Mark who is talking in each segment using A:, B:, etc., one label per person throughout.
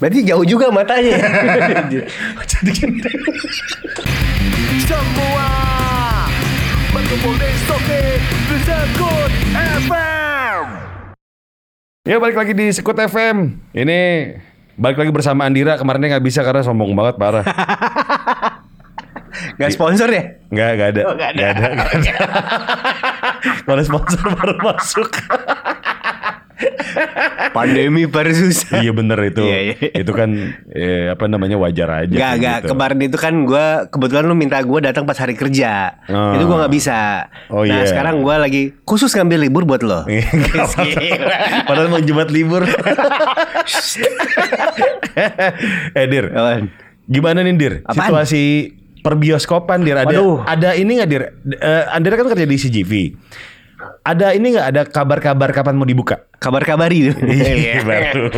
A: Berarti jauh juga matanya.
B: Jadi gini.
C: Semua berkumpul di Soke di Sekut FM.
B: Ya balik lagi di Sekut FM. Ini balik lagi bersama Andira. Kemarin dia nggak bisa karena sombong banget parah.
A: Gak sponsor ya?
B: Nggak nggak ada. Nggak ada. nggak ada. Kalau sponsor baru masuk.
A: Pandemi persusah.
B: iya bener itu.
A: Iya, iya.
B: Itu kan eh, apa namanya wajar aja.
A: Gak,
B: kan
A: gak.
B: gitu.
A: Kemarin itu kan gue kebetulan lu minta gue datang pas hari kerja.
B: Ah.
A: Itu gue nggak bisa.
B: Oh,
A: nah
B: iya.
A: sekarang gue lagi khusus ngambil libur buat lo.
B: Nggak apa-apa. Padahal mau Jumat libur. eh Dir,
A: Apaan?
B: gimana nih Dir?
A: Apaan?
B: Situasi perbioskopan Dir ada
A: Waduh.
B: ada ini nggak Dir? Eh, Andira kan kerja di CGV. Ada ini nggak ada kabar-kabar kapan mau dibuka?
A: Kabar-kabari itu.
B: Iya, baru.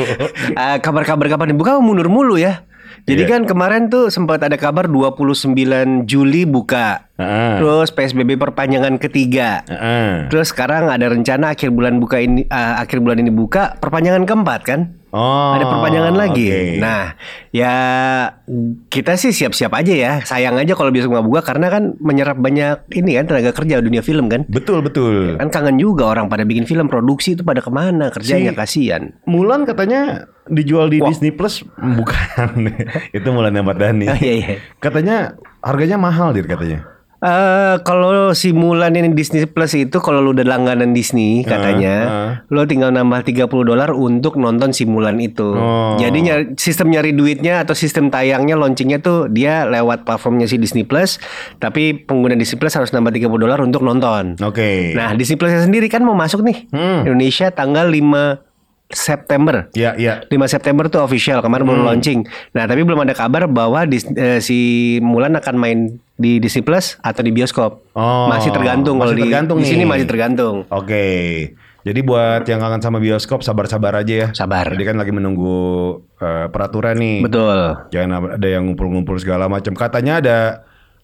A: Eh, kabar-kabar kapan dibuka mundur mulu ya. Jadi
B: Iya.
A: kan kemarin tuh sempat ada kabar 29 Juli buka.
B: Ah.
A: Terus PSBB perpanjangan
B: Nah.
A: ketiga.
B: Heeh.
A: Terus sekarang ada rencana akhir bulan buka ini eh, akhir bulan ini buka perpanjangan keempat kan?
B: Oh,
A: ada perpanjangan lagi.
B: oke.
A: Nah, ya kita sih siap-siap aja ya. Sayang aja kalau besok nggak buka karena kan menyerap banyak ini kan tenaga kerja dunia film kan.
B: Betul betul.
A: Kan kangen juga orang pada bikin film produksi itu pada kemana kerjanya
B: Si-
A: kasihan.
B: Mulan katanya dijual di
A: Wah.
B: Disney Plus bukan. Itu Mulan yang Dhani.
A: Ah, iya, iya.
B: Katanya harganya mahal Dir katanya.
A: Eh kalau si Mulan ini Disney Plus itu kalau lu udah langganan
B: Ah,
A: Disney katanya, lu tinggal nambah 30 dolar untuk nonton si Mulan itu.
B: Oh.
A: Jadi nyari- sistem nyari duitnya atau sistem tayangnya launchingnya tuh dia lewat platformnya si Disney Plus, tapi pengguna Disney Plus harus nambah 30 dolar untuk nonton.
B: Oke.
A: Nah, Disney Plus sendiri kan mau masuk nih
B: Hmm.
A: Indonesia tanggal 5 September.
B: Ya, ya.
A: 5 September tuh official kemarin
B: Hmm.
A: baru launching. Nah, tapi belum ada kabar bahwa Dis- eh, si Mulan akan main di Disney Plus atau di bioskop.
B: Oh,
A: masih tergantung kalau
B: masih
A: di
B: tergantung
A: di sini
B: nih.
A: masih tergantung.
B: Oke. Jadi buat yang kangen sama bioskop sabar-sabar aja ya.
A: Sabar.
B: Jadi kan lagi menunggu eh, peraturan nih.
A: Betul.
B: Jangan ada yang ngumpul-ngumpul segala macam. Katanya ada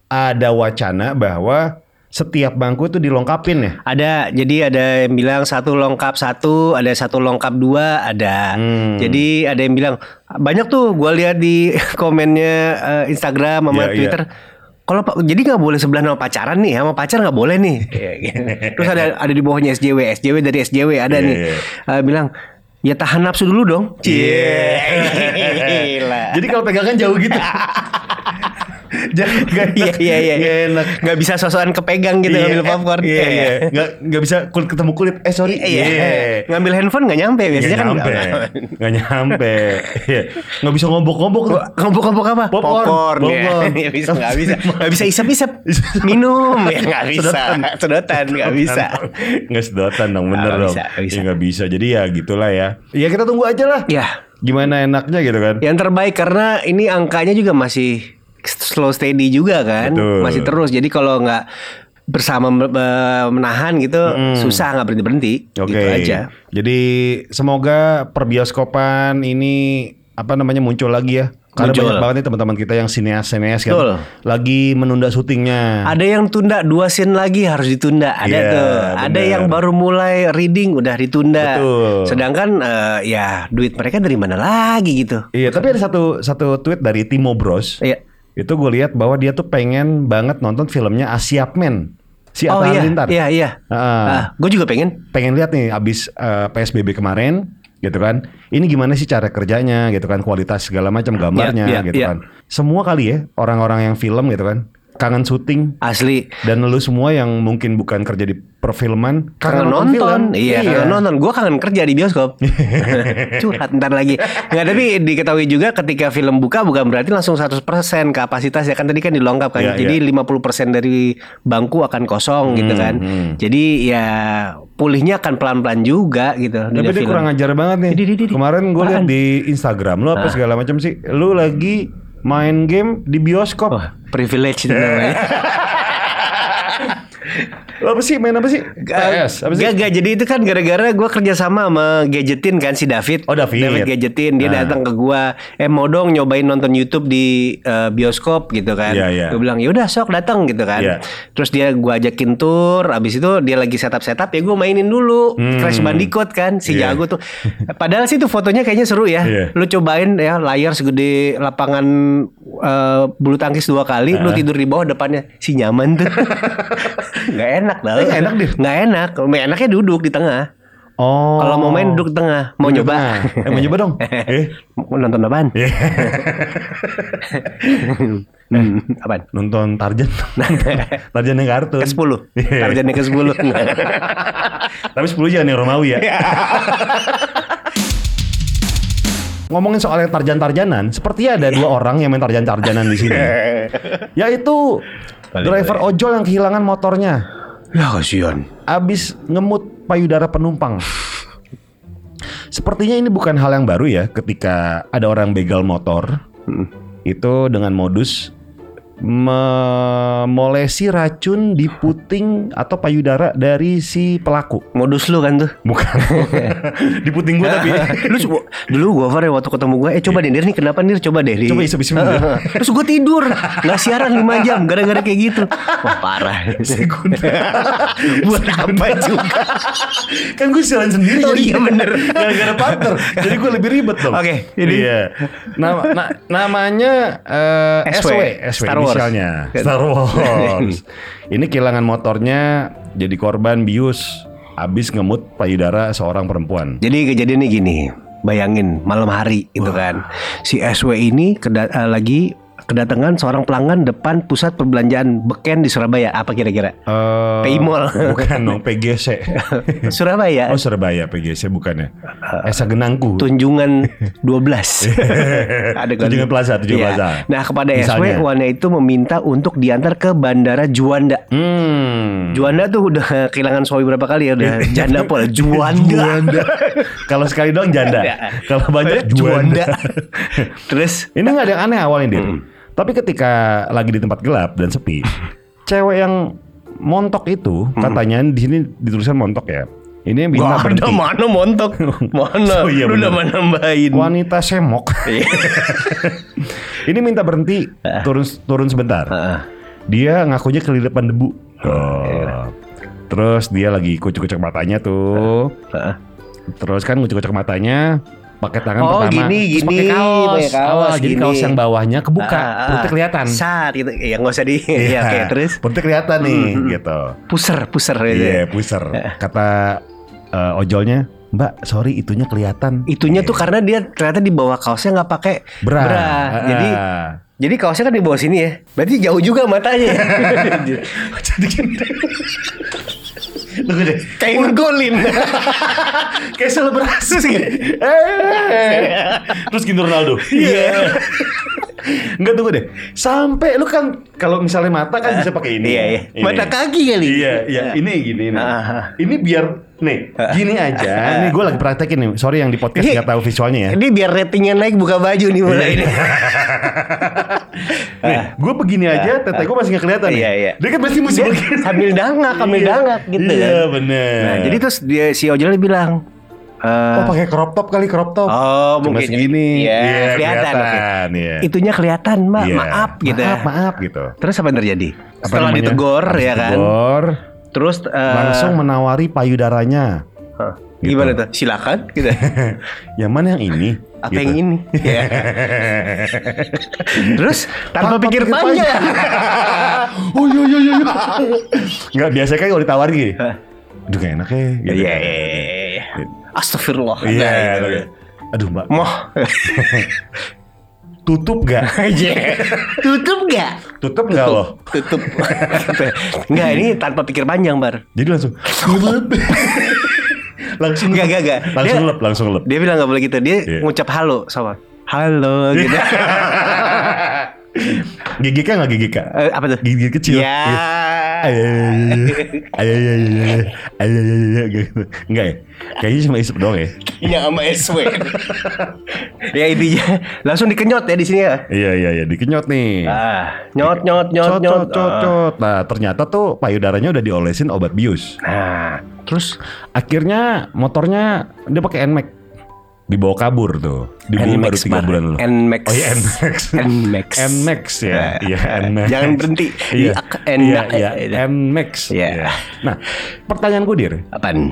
B: ada wacana bahwa setiap bangku itu dilengkapin ya.
A: Ada, jadi ada yang bilang satu longkap satu, ada satu longkap dua, ada.
B: Hmm.
A: Jadi ada yang bilang banyak tuh gue lihat di komennya eh, Instagram sama
B: Iya, iya.
A: Twitter. Kalau pak, jadi nggak boleh sebelah sama pacaran nih, sama pacar nggak boleh nih. Iya, gitu. Terus ada ada di bawahnya SJW, SJW dari SJW ada
B: Iya,
A: nih
B: iya.
A: Eh, bilang ya tahan nafsu dulu dong. Gila.
B: Jadi kalau pegangan jauh gitu. Jangan nggak
A: Iya
B: enak.
A: iya iya.
B: Nggak enak.
A: Nggak bisa sosokan kepegang gitu
B: Iya,
A: ngambil popcorn.
B: Iya iya. Nggak nggak bisa kulit ketemu kulit. Eh sorry.
A: Iya. Ngambil handphone nggak nyampe biasanya
B: Nggak
A: kan.
B: nyampe. Nggak nyampe. Iya. Nggak bisa ngobok-ngobok. tuh.
A: Kompok-kompok apa? ya.
B: Popcorn. Popcorn.
A: Ya, bisa nggak bisa. Nggak bisa isap-isap. Minum ya nggak bisa. Sedotan nggak bisa.
B: Nggak sedotan dong bener
A: Nggak
B: dong.
A: bisa, nggak bisa. Iya,
B: Ya, Nggak bisa. Jadi ya gitulah ya. Ya kita tunggu aja lah.
A: Ya,
B: Gimana enaknya gitu kan.
A: yang terbaik karena ini angkanya juga masih slow steady juga kan,
B: Betul.
A: masih terus. Jadi kalau nggak bersama eh, menahan gitu susah nggak berhenti berhenti
B: Oke.
A: gitu aja.
B: Jadi semoga perbioskopan ini apa namanya muncul lagi ya. Karena
A: Muncul.
B: banyak banget nih teman-teman kita yang sineas-sineas kan
A: Betul.
B: lagi menunda syutingnya.
A: Ada yang tunda dua scene lagi harus ditunda. Ada
B: Nah. Iya,
A: tuh. Ada
B: bener.
A: yang baru mulai reading udah ditunda.
B: Betul.
A: Sedangkan eh, ya duit mereka dari mana lagi gitu.
B: Iya, tapi ada satu satu tweet dari Timo Bros.
A: Iya.
B: Itu gue lihat bahwa dia tuh pengen banget nonton filmnya Asiap Men. Si
A: Oh
B: Atta
A: iya,
B: Halilintar.
A: iya, iya.
B: Heeh.
A: gue juga pengen.
B: pengen lihat nih abis eh, PSBB kemarin gitu kan ini gimana sih cara kerjanya gitu kan kualitas segala macam gambarnya
A: Iya, iya,
B: gitu
A: iya.
B: kan semua kali ya orang-orang yang film gitu kan kangen syuting
A: Asli.
B: dan lu semua yang mungkin bukan kerja di perfilman
A: Kangen nonton, iya, kangen nonton. Gue kangen kerja di bioskop. Curhat ntar lagi. Nggak, tapi diketahui juga ketika film buka bukan berarti langsung 100% kapasitas ya kan tadi kan dilongkap kan.
B: Iya, Hmm,
A: Jadi 50% dari bangku akan kosong gitu kan. Jadi ya pulihnya akan pelan-pelan juga gitu.
B: tapi
A: dunia
B: dia
A: film.
B: kurang ajar banget nih
A: Di, di, di, di.
B: kemarin gue lihat
A: Apaan?
B: di Instagram lu apa
A: Ah.
B: segala macam sih lu lagi main game di bioskop
A: Wah, privilege itu namanya.
B: Lo apa sih main apa sih? PS apa sih?
A: Gak, gak, jadi itu kan gara-gara gue kerja sama sama Gadgetin kan si David
B: Oh, David.
A: Gadgetin, dia
B: Nah.
A: datang ke gue Eh mau dong nyobain nonton Youtube di eh, bioskop gitu kan
B: Iya, iya.
A: Gue bilang yaudah sok datang gitu kan
B: Iya.
A: Terus dia gue ajakin tour Abis itu dia lagi setup-setup ya gue mainin dulu Crash Bandicoot kan si
B: Hmm. Iya.
A: jago tuh Padahal sih tuh fotonya kayaknya seru ya
B: Iya.
A: Lu cobain ya layar segede lapangan eh, bulu tangkis dua kali Lu tidur di bawah depannya si nyaman tuh Gak enak dah
B: Eh, nggak enak, Dir.
A: Nggak enak. Nggak enaknya duduk di tengah.
B: Oh.
A: Kalau mau main duduk di tengah. Mau
B: Duduk
A: nyoba. Iya.
B: tengah. Eh, mau nyoba dong. Eh.
A: Mau nonton apaan?
B: Iya.
A: Hmm, apaan?
B: Nonton Tarjan. Tarjan yang kartun.
A: Ke 10.
B: Iya.
A: Tarjannya ke 10.
B: Tapi 10 jangan yang Romawi ya.
A: Iya.
B: Ngomongin soal yang tarjan-tarjanan, sepertinya ada
A: Iya.
B: dua orang yang main tarjan-tarjanan di sini. Yaitu driver ojol yang kehilangan motornya
A: ya kasihan.
B: abis ngemut payudara penumpang. Sepertinya ini bukan hal yang baru ya ketika ada orang begal motor itu dengan modus memolesi racun di puting atau payudara dari si pelaku.
A: Modus lu kan tuh.
B: Bukan. di puting gua tapi.
A: lu coba- dulu gua Far, ya, waktu ketemu gua eh coba deh Nir nih kenapa Nir coba deh di-
B: Coba isep-isep dulu.
A: Heeh. terus gua tidur nggak siaran 5 jam gara-gara kayak gitu wah parah buat apa juga
B: kan gue siaran sendiri
A: Oh,
B: jadi
A: iya, bener.
B: Gara-gara partner. Jadi gue lebih ribet dong.
A: Oke, ini.
B: Iya. Nama, na- namanya eh,
A: SW.
B: SW,
A: Star Wars.
B: inisialnya. Star Wars. ini kehilangan motornya jadi korban bius habis ngemut payudara seorang perempuan.
A: Jadi kejadiannya gini, bayangin malam hari gitu kan. Si SW ini keda- eh, lagi kedatangan seorang pelanggan depan pusat perbelanjaan Beken di Surabaya. Apa kira-kira?
B: Eh,
A: PI Mall.
B: Bukan dong, PGC.
A: Surabaya.
B: Oh Surabaya PGC bukan ya? Esa Genangku.
A: Tunjungan 12 Ada kan?
B: Tunjungan Plaza,
A: Iya.
B: Tunjungan Plaza.
A: Nah kepada
B: Misalnya.
A: SW Wana itu meminta untuk diantar ke bandara Juanda
B: Hmm. Iya.
A: Juanda tuh udah kehilangan suami berapa kali ya Udah janda pola Juanda,
B: Juanda. Kalau sekali doang janda.
A: Ya.
B: Kalau banyak
A: Juanda.
B: juanda.
A: Terus
B: Ini nggak ada yang aneh awalnya Dir. Tapi ketika lagi di tempat gelap dan sepi, cewek yang montok itu katanya di sini ditulisan montok ya. Ini yang
A: Gak
B: minta
A: ada
B: berhenti.
A: mana montok Mana
B: Oh, iya,
A: Lu
B: bener.
A: udah Iya. mana nambahin
B: Wanita semok. Ini minta berhenti turun turun sebentar.
A: Heeh.
B: Dia ngakunya kelilipan debu. Oh. Terus dia lagi kucuk-kucuk matanya tuh.
A: Heeh.
B: Terus kan ngucuk-ngucuk matanya pakai tangan
A: Oh,
B: pertama.
A: gini,
B: Terus
A: gini,
B: pakai kaos,
A: pakai kaos,
B: awal. Jadi
A: gini.
B: kaos yang bawahnya kebuka,
A: Ah, ah,
B: perutnya kelihatan.
A: Sat gitu Ya nggak usah di Iya oke terus Hmm,
B: Perutnya kelihatan nih gitu.
A: Puser Puser gitu.
B: Iya, puser. Kata eh, ojolnya, "Mbak, sorry itunya kelihatan." Iya.
A: Itunya tuh karena dia ternyata di bawah kaosnya nggak pakai
B: bra. Ah.
A: Jadi jadi kaosnya kan di bawah sini ya. Berarti jauh juga matanya. ya?
B: jadi gini. Tunggu deh.
A: Kayak ngegolin.
B: Kayak selebrasi sih. Terus gini Ronaldo. Iya. Enggak tunggu deh. Sampai lu kan kalau misalnya mata kan bisa pakai ini.
A: Iya, iya.
B: Ini.
A: Mata kaki kali.
B: Iya, iya. Ini gini nih.
A: Ah, ah.
B: Ini biar nih, gini aja. Nih gue lagi praktekin nih. Sorry yang di podcast
A: Ini-
B: nggak tahu visualnya ya.
A: Ini biar ratingnya naik buka baju nih mulai
B: Iya.
A: ini.
B: Nih, gue begini aja, tete gue masih nggak kelihatan.
A: Ah.
B: nih.
A: Iya, iya.
B: Dia kan pasti mesti begini.
A: Sambil dangak, sambil
B: Iya.
A: dangak gitu
B: Iya,
A: kan.
B: bener.
A: Nah, jadi terus dia, si ojolnya bilang, eh,
B: Oh pakai crop top kali crop top.
A: Oh,
B: Cuma
A: mungkin.
B: segini.
A: Iya, kelihatan,
B: kelihatan. Iya.
A: itunya kelihatan, Mbak.
B: Iya.
A: Maaf gitu.
B: Maaf, maaf gitu.
A: Terus apa yang terjadi?
B: Apa
A: Setelah
B: namanya?
A: ditegur
B: Habis
A: ya kan.
B: ditegur,
A: Terus eh,
B: langsung Gitu. menawari payudaranya.
A: Hah, gimana tuh? Silakan gitu.
B: Yang mana yang ini?
A: Apa
B: Gitu.
A: yang ini? Ya. Terus tanpa,
B: Tanpa
A: pikir
B: pikir
A: panjang.
B: oh iya iya iya. Enggak biasanya kan kalau ditawarin gini. Aduh gak enak ya.
A: Iya.
B: gitu.
A: iya, iya, iya. Astagfirullah.
B: Iya.
A: Nah, gitu.
B: gitu. Aduh mbak,
A: Moh.
B: tutup gak?
A: Iya. Tutup nggak?
B: Tutup gak loh?
A: Tutup. Enggak, ini tanpa pikir panjang, Bar.
B: Jadi langsung langsung
A: Enggak, enggak, enggak.
B: langsung
A: Dia-
B: lep, langsung lep.
A: Dia bilang nggak boleh gitu. Dia
B: Iya.
A: ngucap halo sama halo gitu.
B: Gigi kah nggak gigi kah?
A: Eh, apa tuh?
B: Gitu. Gigi kecil.
A: Ya.
B: ayo ayo ayo ayo ayo ayo gitu. Enggak ya? Kayaknya cuma isep doang ya.
A: Iya sama SW. ya intinya langsung dikenyot ya di sini ya.
B: Iya iya iya dikenyot nih.
A: Ah, nyot nyot nyot
B: Cot
A: nyot.
B: cot cot
A: Ah.
B: cot. Nah, ternyata tuh payudaranya udah diolesin obat bius.
A: Nah,
B: Terus akhirnya motornya dia pakai NMAX dibawa kabur tuh. Dibawa baru tiga
A: Bar.
B: bulan loh.
A: Nmax.
B: Oh iya NMAX.
A: Nmax. Ah,
B: NMAX ya. Iya NMAX.
A: Jangan berhenti.
B: Iya.
A: Iak,
B: Iya
A: enak.
B: iya NMAX.
A: Iya.
B: Iya. Nah, pertanyaan gue Dir,
A: Apaan?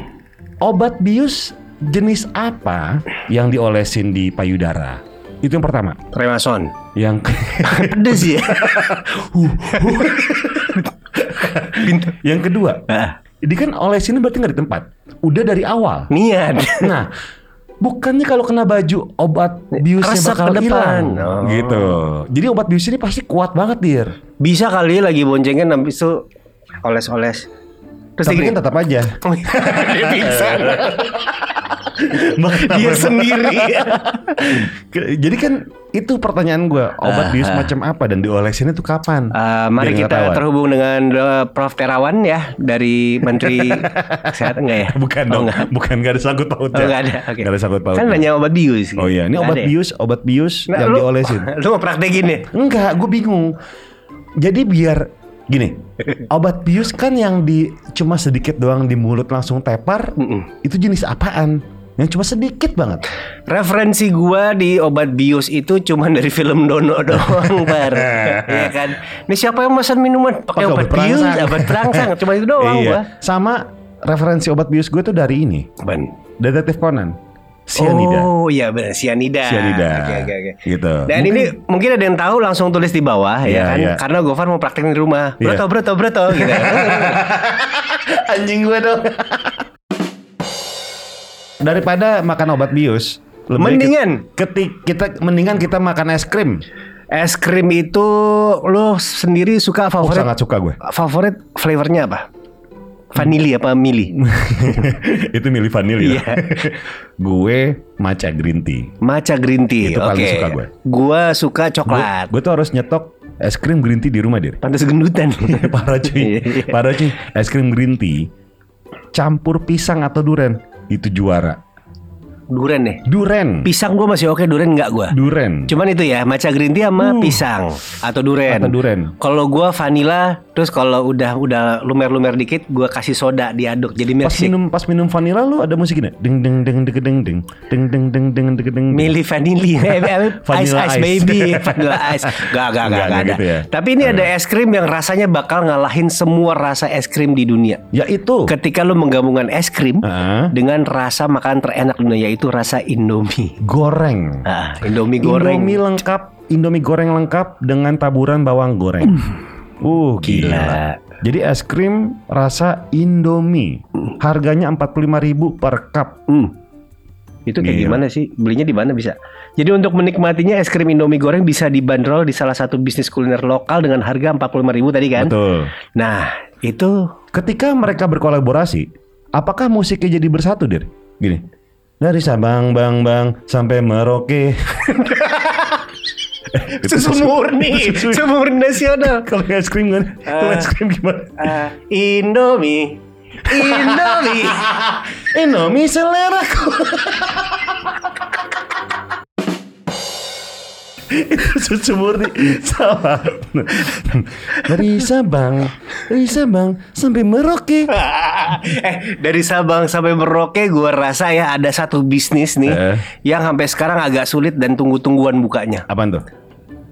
B: obat bius jenis apa yang diolesin di payudara? Itu yang pertama.
A: Remason.
B: Yang
A: Pedes ya. Pintu.
B: yang kedua.
A: Ah,
B: Dia kan olesin berarti nggak di tempat. Udah dari awal.
A: niat.
B: Nah, bukannya kalau kena baju obat biusnya
A: Resep
B: bakal
A: ke depan.
B: hilang
A: Oh.
B: gitu. Jadi obat bius ini pasti kuat banget, Dir.
A: Bisa kali lagi boncengin habis itu oles-oles. Terus
B: Tapi
A: dia gini.
B: kan tetap aja.
A: dia pingsan. dia sendiri.
B: Ke- Jadi kan itu pertanyaan gua, obat bius macam apa dan diolesinnya tuh kapan?
A: Eh, Ah, mari
B: Biar nggak
A: kita
B: ketahuan.
A: terhubung dengan eh, Prof Terawan ya dari Menteri Kesehatan enggak ya?
B: Bukan
A: Oh,
B: dong,
A: nggak.
B: bukan gak ada sangkut pautnya.
A: Oh, nggak ada. Oke.
B: Nggak ada sangkut pautnya.
A: Kan nanya obat bius.
B: Oh iya, ini
A: Nggak
B: obat
A: ada ya?
B: bius, obat bius
A: Nah,
B: yang
A: lu-
B: diolesin.
A: Lu mau praktekin ya?
B: Enggak, gue bingung. Jadi biar gini, obat bius kan yang di cuma sedikit doang di mulut langsung tepar,
A: Mm-mm.
B: itu jenis apaan? Yang cuma sedikit banget.
A: Referensi gua di obat bius itu cuman dari film Dono doang, Bar. Iya kan? Ini siapa yang pesan minuman pakai
B: Pakai
A: obat, Iya.
B: obat
A: bius,
B: perangsang. Iya.
A: obat perangsang, cuma itu doang gua.
B: Sama referensi obat bius gue tuh dari ini,
A: Apaan?
B: Detektif Conan. Sianida.
A: Oh iya benar, sianida.
B: Sianida.
A: Oke oke oke.
B: Gitu.
A: Dan
B: Mungkin-
A: ini mungkin ada yang tahu langsung tulis di bawah
B: Iya,
A: ya kan
B: iya.
A: karena Gofar mau praktekin di rumah.
B: Iya.
A: Broto broto broto gitu.
B: anjing gue dong. Daripada makan obat bius, baik
A: Mendingan.
B: ketik kita mendingan kita makan es krim.
A: Es krim itu lo sendiri suka
B: Oh,
A: favorit
B: sangat suka gue.
A: favorit flavornya apa? Vanili apa mili?
B: itu milih vanilla.
A: Iya.
B: gue matcha green tea.
A: Matcha green tea.
B: Itu paling
A: Oke.
B: suka gue.
A: Gua suka
B: Gue,
A: coklat.
B: gue tuh harus nyetok es krim green tea di rumah dir.
A: Pantas gendutan.
B: Parah cuy,
A: Iya.
B: parah cuy. Es krim green tea campur pisang atau duren itu juara.
A: Duren deh.
B: Duren,
A: Pisang gua masih oke, duren enggak gua.
B: duren.
A: Cuman itu ya, matcha green tea sama pisang atau duren.
B: Hmm. Atau duren.
A: Kalau gua vanilla, terus kalau udah udah lumer-lumer dikit, gua kasih soda diaduk jadi
B: Pas
A: milkshake.
B: minum pas minum vanilla lu ada musik gini, deng deng deng deng deng deng deng deng deng deng deng deng.
A: Milih vanili, ice
B: Eh, Vanilla
A: ice
B: ice.
A: baby, vanilla ice. Gak gak
B: Nggak,
A: gak gak
B: nggak
A: ada.
B: gitu ya.
A: Tapi ini ada es krim yang rasanya bakal ngalahin semua rasa es krim di dunia.
B: Ya itu.
A: Ketika lu menggabungkan es krim
B: Ah.
A: dengan rasa makanan terenak di dunia yaitu rasa Indomie.
B: Goreng.
A: Ah, Indomie goreng.
B: Indomie lengkap, Indomie goreng lengkap dengan taburan bawang goreng. Uh, gila.
A: Gila.
B: Jadi es krim rasa Indomie. Harganya 45.000 per cup.
A: Hmm. Itu kayak
B: Gila.
A: gimana sih? Belinya di mana bisa? Jadi untuk menikmatinya es krim Indomie goreng bisa dibanderol di salah satu bisnis kuliner lokal dengan harga 45.000 tadi kan?
B: Betul.
A: Nah, itu
B: Ketika mereka berkolaborasi, apakah musiknya jadi bersatu, Dir? Gini. Dari Sabang Bang Bang sampai Merauke. Itu
A: susu murni,
B: Susu.
A: susu murni nasional.
B: Kalau es krim kan, kalau es krim gimana?
A: Ah, Indomie, Indomie.
B: Indomie selera Susu murni Salah Dari Sabang Dari Sabang Sampai Merauke
A: eh, dari Sabang sampai Merauke, gua rasa ya ada satu bisnis nih
B: Eh.
A: yang sampai sekarang agak sulit dan tunggu-tungguan bukanya.
B: Apaan tuh?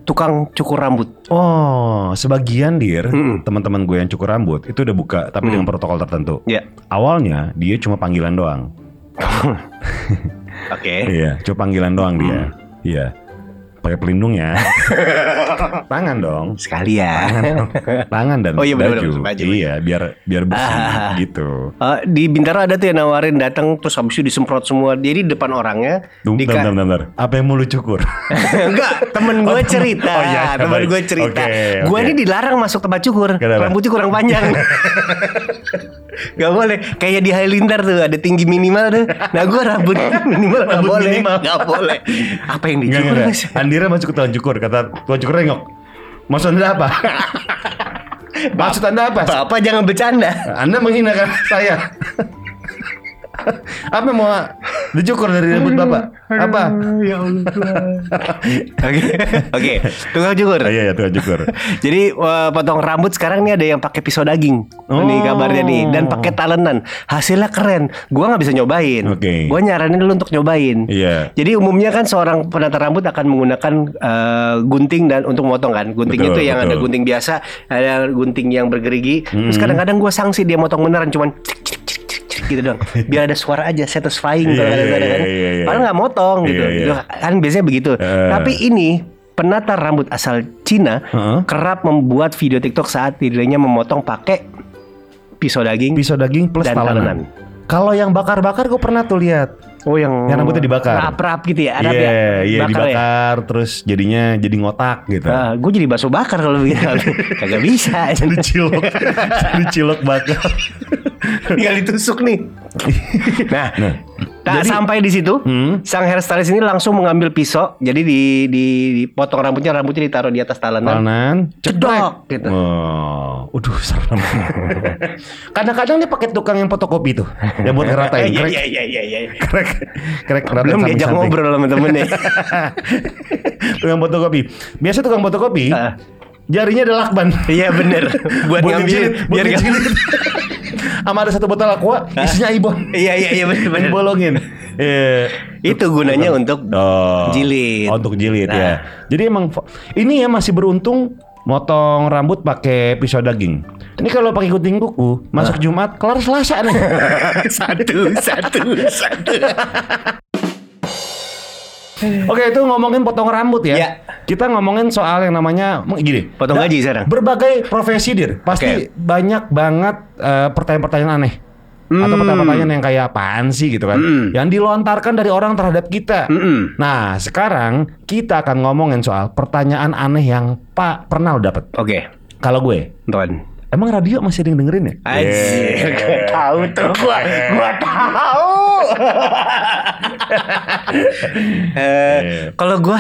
A: Tukang cukur rambut.
B: Oh Sebagian dir
A: Mm-mm.
B: Teman-teman gue yang cukur rambut Itu udah buka Tapi dengan protokol tertentu
A: Ya.
B: Awalnya Dia cuma panggilan doang
A: Oke.
B: Iya Cuma panggilan doang dia Iya Pakai pelindung ya Tangan dong
A: Sekali ya.
B: tangan dan
A: Oh iya, benar-benar,
B: baju.
A: baju.
B: Iya, biar biar bersih
A: Ah.
B: gitu.
A: Eh, di Bintaro ada tuh yang nawarin datang terus habis itu disemprot semua. Jadi depan orangnya
B: Tunggu,
A: di
B: bentar, bentar, bentar. Apa yang mau lu cukur?
A: Enggak, temen gue cerita,
B: Oh, iya,
A: temen
B: baik.
A: gue cerita.
B: Oke,
A: Gue
B: oke.
A: ini dilarang masuk tempat cukur,
B: Kenapa?
A: rambutnya kurang panjang. gak boleh, kayak di Highlander tuh ada tinggi minimal tuh. Nah gue rambut minimal gak
B: Rambut
A: boleh,
B: minimal.
A: gak boleh. Apa yang
B: Enggak,
A: dicukur
B: enggak, enggak.
A: mas?
B: Andira masuk ke tukang cukur, kata tukang cukur rengok. Maksud Anda apa? Maksud Anda apa?
A: Bapak jangan bercanda.
B: Anda menghinakan saya. apa yang mau dicukur dari rambut Bapak? Apa?
A: Ya Allah. Oke, oke. Tukang cukur.
B: Ah, Iya, ya tukang cukur.
A: Jadi eh, potong rambut sekarang nih ada yang pakai pisau daging.
B: Oh.
A: Nih kabarnya nih dan pakai talenan. Hasilnya keren. Gua nggak bisa nyobain.
B: Oke.
A: Gua nyaranin lu untuk nyobain.
B: Iya.
A: Jadi umumnya kan seorang penata rambut akan menggunakan eh, gunting dan untuk motong kan. Gunting itu
B: Betul,
A: yang ada
B: betul. Hmm.
A: gunting biasa, ada gunting yang bergerigi. Terus kadang-kadang gua sanksi dia motong beneran cuman cik, cik, cik, cik, cik gitu doang. Biar ada suara aja satisfying
B: Iya,
A: kalau
B: iya,
A: kadang-kadang kan.
B: iya, iya, iya.
A: Padahal nggak motong gitu.
B: Iya, iya.
A: Gitu kan biasanya begitu.
B: Eh.
A: Tapi ini penata rambut asal Cina
B: Heeh.
A: kerap membuat video TikTok saat dirinya memotong pakai pisau daging.
B: Pisau daging plus
A: Dan talenan.
B: talenan. Kalau yang bakar-bakar gue pernah tuh lihat.
A: Oh yang
B: Yang rambutnya dibakar.
A: Rap-rap gitu ya,
B: Iya,
A: Arab
B: iya
A: ya. Ah. Bakar ya?
B: dibakar terus jadinya jadi ngotak gitu.
A: gue Eh, jadi bakso bakar kalau begitu.
B: Iya.
A: Kagak bisa.
B: Jadi cilok, jadi cilok bakar.
A: Tinggal ditusuk nih. nah, tak
B: jadi-
A: sampai di situ,
B: Hmm.
A: sang hairstylist ini langsung mengambil pisau. Jadi di, di dipotong rambutnya, rambutnya ditaruh di atas
B: Nah,
A: talenan.
B: Talenan,
A: Cedok gitu.
B: Oh, aduh serem. Kadang-kadang dia pakai tukang yang fotokopi tuh, yang buat ngeratain.
A: Iya,
B: Krek,
A: iya, iya, iya, iya.
B: krek, krek. ngeratain
A: Belum diajak
B: samping-samping.
A: ngobrol sama temennya.
B: tukang fotokopi. Biasa tukang fotokopi,
A: Ah.
B: jarinya ada lakban.
A: Iya bener. Buat, ngambilin,
B: dijilit,
A: biar
B: buat
A: nggak-
B: dijilit. Sama ada satu botol aqua, isinya ibon.
A: Iya, iya, iya bener-bener.
B: Dibolongin. Eh,
A: Itu gunanya untuk
B: Oh.
A: jilid.
B: Oh, untuk jilid
A: Nah.
B: ya. Jadi emang fo- ini ya masih beruntung motong rambut pakai pisau daging. Ini kalau pakai gunting
A: Nah.
B: kuku, masuk Jumat kelar Selasa nih.
A: satu, satu, satu.
B: Oke, itu ngomongin potong rambut ya.
A: Ya.
B: Kita ngomongin soal yang namanya gini, Nah,
A: Potong gaji sekarang.
B: berbagai profesi dir. Pasti banyak banget eh, pertanyaan-pertanyaan aneh.
A: Hmm.
B: Atau pertanyaan-pertanyaan yang kayak apaan sih gitu kan Yang dilontarkan dari orang terhadap
A: Hmm.
B: kita
A: Mm-mm.
B: Nah sekarang kita akan ngomongin soal pertanyaan aneh yang Pak pernah lo dapet
A: Oke,
B: Kalau gue,
A: Tuan.
B: emang radio masih ada yang dengerin ya?
A: Anjir, gua tahu tuh gua, gua tahu. Eh,
B: Iya.
A: kalau gua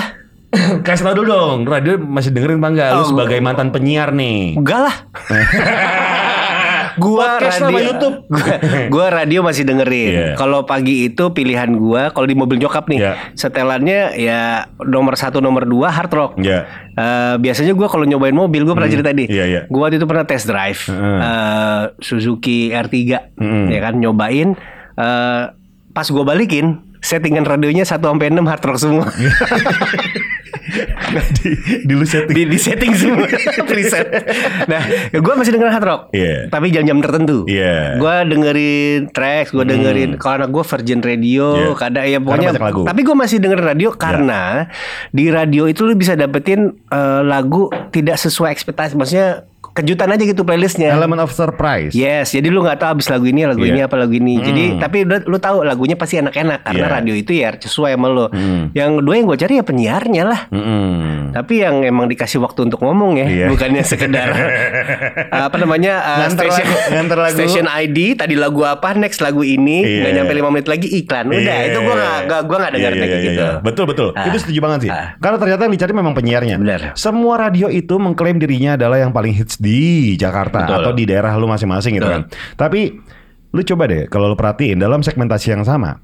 B: Kasih tau dulu dong, radio masih dengerin apa enggak? Lu
A: Oh,
B: sebagai mantan penyiar nih.
A: enggak lah. gua
B: Podcast
A: radio
B: sama YouTube.
A: Gua, gua radio masih dengerin.
B: Iya.
A: Kalau pagi itu pilihan gua kalau di mobil nyokap nih,
B: Iya.
A: setelannya ya nomor satu nomor dua hard rock.
B: Iya.
A: Eh, biasanya gua kalau nyobain mobil gua pernah cerita nih.
B: iya, iya. Hmm.
A: Gua waktu itu pernah test drive
B: Heeh.
A: eh, Suzuki R3
B: Mm-mm.
A: ya kan nyobain eh, pas gua balikin settingan radionya 1 sampai 6 hard rock semua.
B: di, di lu setting.
A: di, di setting semua preset. Nah, gue masih dengerin hard rock,
B: Iya.
A: tapi jam-jam tertentu.
B: Iya. Hmm.
A: Gue dengerin tracks, gue dengerin kalau anak gue Virgin Radio,
B: Iya.
A: kadang ya
B: Karena
A: pokoknya.
B: banyak lagu.
A: Tapi gue masih dengerin
B: Ya.
A: radio karena di radio itu lu bisa dapetin eh, lagu tidak sesuai ekspektasi, maksudnya kejutan aja gitu playlistnya.
B: Element of surprise.
A: Yes, jadi lu nggak tahu abis lagu ini, lagu
B: Iya. Hmm.
A: ini apa lagu ini. Jadi tapi udah lu tahu lagunya pasti enak-enak karena
B: Iya.
A: radio itu ya sesuai sama lu.
B: Hmm.
A: Yang kedua yang gue cari ya penyiarnya lah.
B: Mm-mm.
A: Tapi yang emang dikasih waktu untuk ngomong ya,
B: Iya.
A: bukannya sekedar eh, apa namanya uh,
B: Nganter
A: station
B: lagu, nganter lagu.
A: station ID tadi lagu apa next lagu ini
B: Iya.
A: nggak nyampe lima menit lagi iklan udah
B: Iya.
A: itu gua nggak gua- gua nggak dengar
B: Iya,
A: kayak
B: iya, iya,
A: gitu.
B: iya. Betul betul.
A: Ah.
B: Itu setuju banget sih.
A: Ah.
B: Karena ternyata yang dicari memang penyiarnya.
A: Benar.
B: Semua radio itu mengklaim dirinya adalah yang paling hits di Jakarta
A: Betul.
B: atau di daerah lu masing-masing gitu kan.
A: Betul.
B: Tapi lu coba deh kalau lu perhatiin dalam segmentasi yang sama.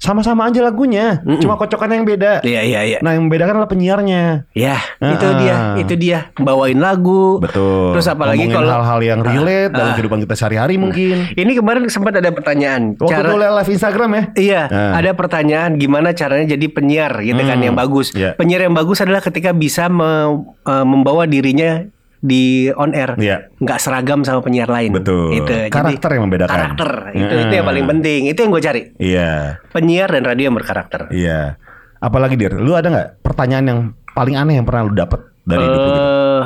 B: Sama-sama aja lagunya, cuma kocokannya yang beda.
A: Iya iya iya.
B: Nah, yang membedakan adalah penyiarnya.
A: Ya, itu
B: Ah.
A: dia, itu dia bawain lagu.
B: Betul.
A: Terus apalagi
B: Ngomongin
A: kalau
B: hal-hal yang relate
A: Ah,
B: dalam
A: ah.
B: kehidupan kita sehari-hari mungkin.
A: Ini kemarin sempat ada pertanyaan.
B: Waktu
A: cara
B: itu live Instagram ya.
A: Iya,
B: Ah.
A: ada pertanyaan gimana caranya jadi penyiar gitu kan
B: Hmm,
A: yang bagus.
B: iya.
A: Penyiar yang bagus adalah ketika bisa me- eh, membawa dirinya di on air,
B: Iya.
A: nggak seragam sama penyiar lain.
B: Betul.
A: Itu, jadi
B: Karakter yang membedakan.
A: Karakter itu itu yang
B: Mm.
A: paling penting. Itu yang gue cari.
B: Iya.
A: Penyiar dan radio yang berkarakter.
B: Iya. Apalagi Dir, lu ada nggak pertanyaan yang paling aneh yang pernah lu dapet dari hidup lu? gitu?
A: Eh,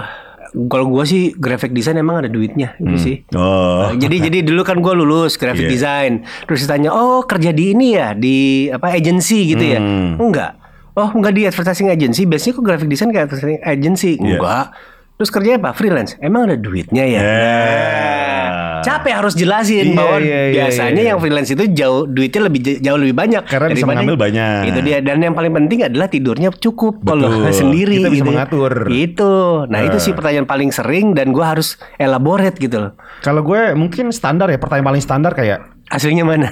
A: kalau gue sih graphic design emang ada duitnya gitu sih.
B: Oh.
A: Jadi jadi dulu kan gue lulus graphic
B: Iya.
A: design, terus ditanya, oh kerja di ini ya di apa agency gitu ya?
B: Hmm.
A: Enggak. Oh enggak di advertising agency. Biasanya kok graphic design kayak advertising agency?
B: Iya.
A: Enggak. Terus kerjanya apa? Freelance. Emang ada duitnya ya?
B: Yeah.
A: Nah, Capek harus jelasin
B: Iya,
A: bahwa
B: iya, iya,
A: biasanya
B: iya.
A: yang freelance itu jauh duitnya lebih j- jauh lebih banyak
B: Karena bisa
A: daripada-
B: mengambil banyak.
A: Itu dia dan yang paling penting adalah tidurnya cukup kalau
B: Betul.
A: sendiri
B: Kita bisa
A: gitu ya.
B: mengatur.
A: Itu. Nah, itu sih pertanyaan paling sering dan gua harus elaborate gitu loh.
B: Kalau gue mungkin standar ya pertanyaan paling standar kayak
A: Hasilnya mana?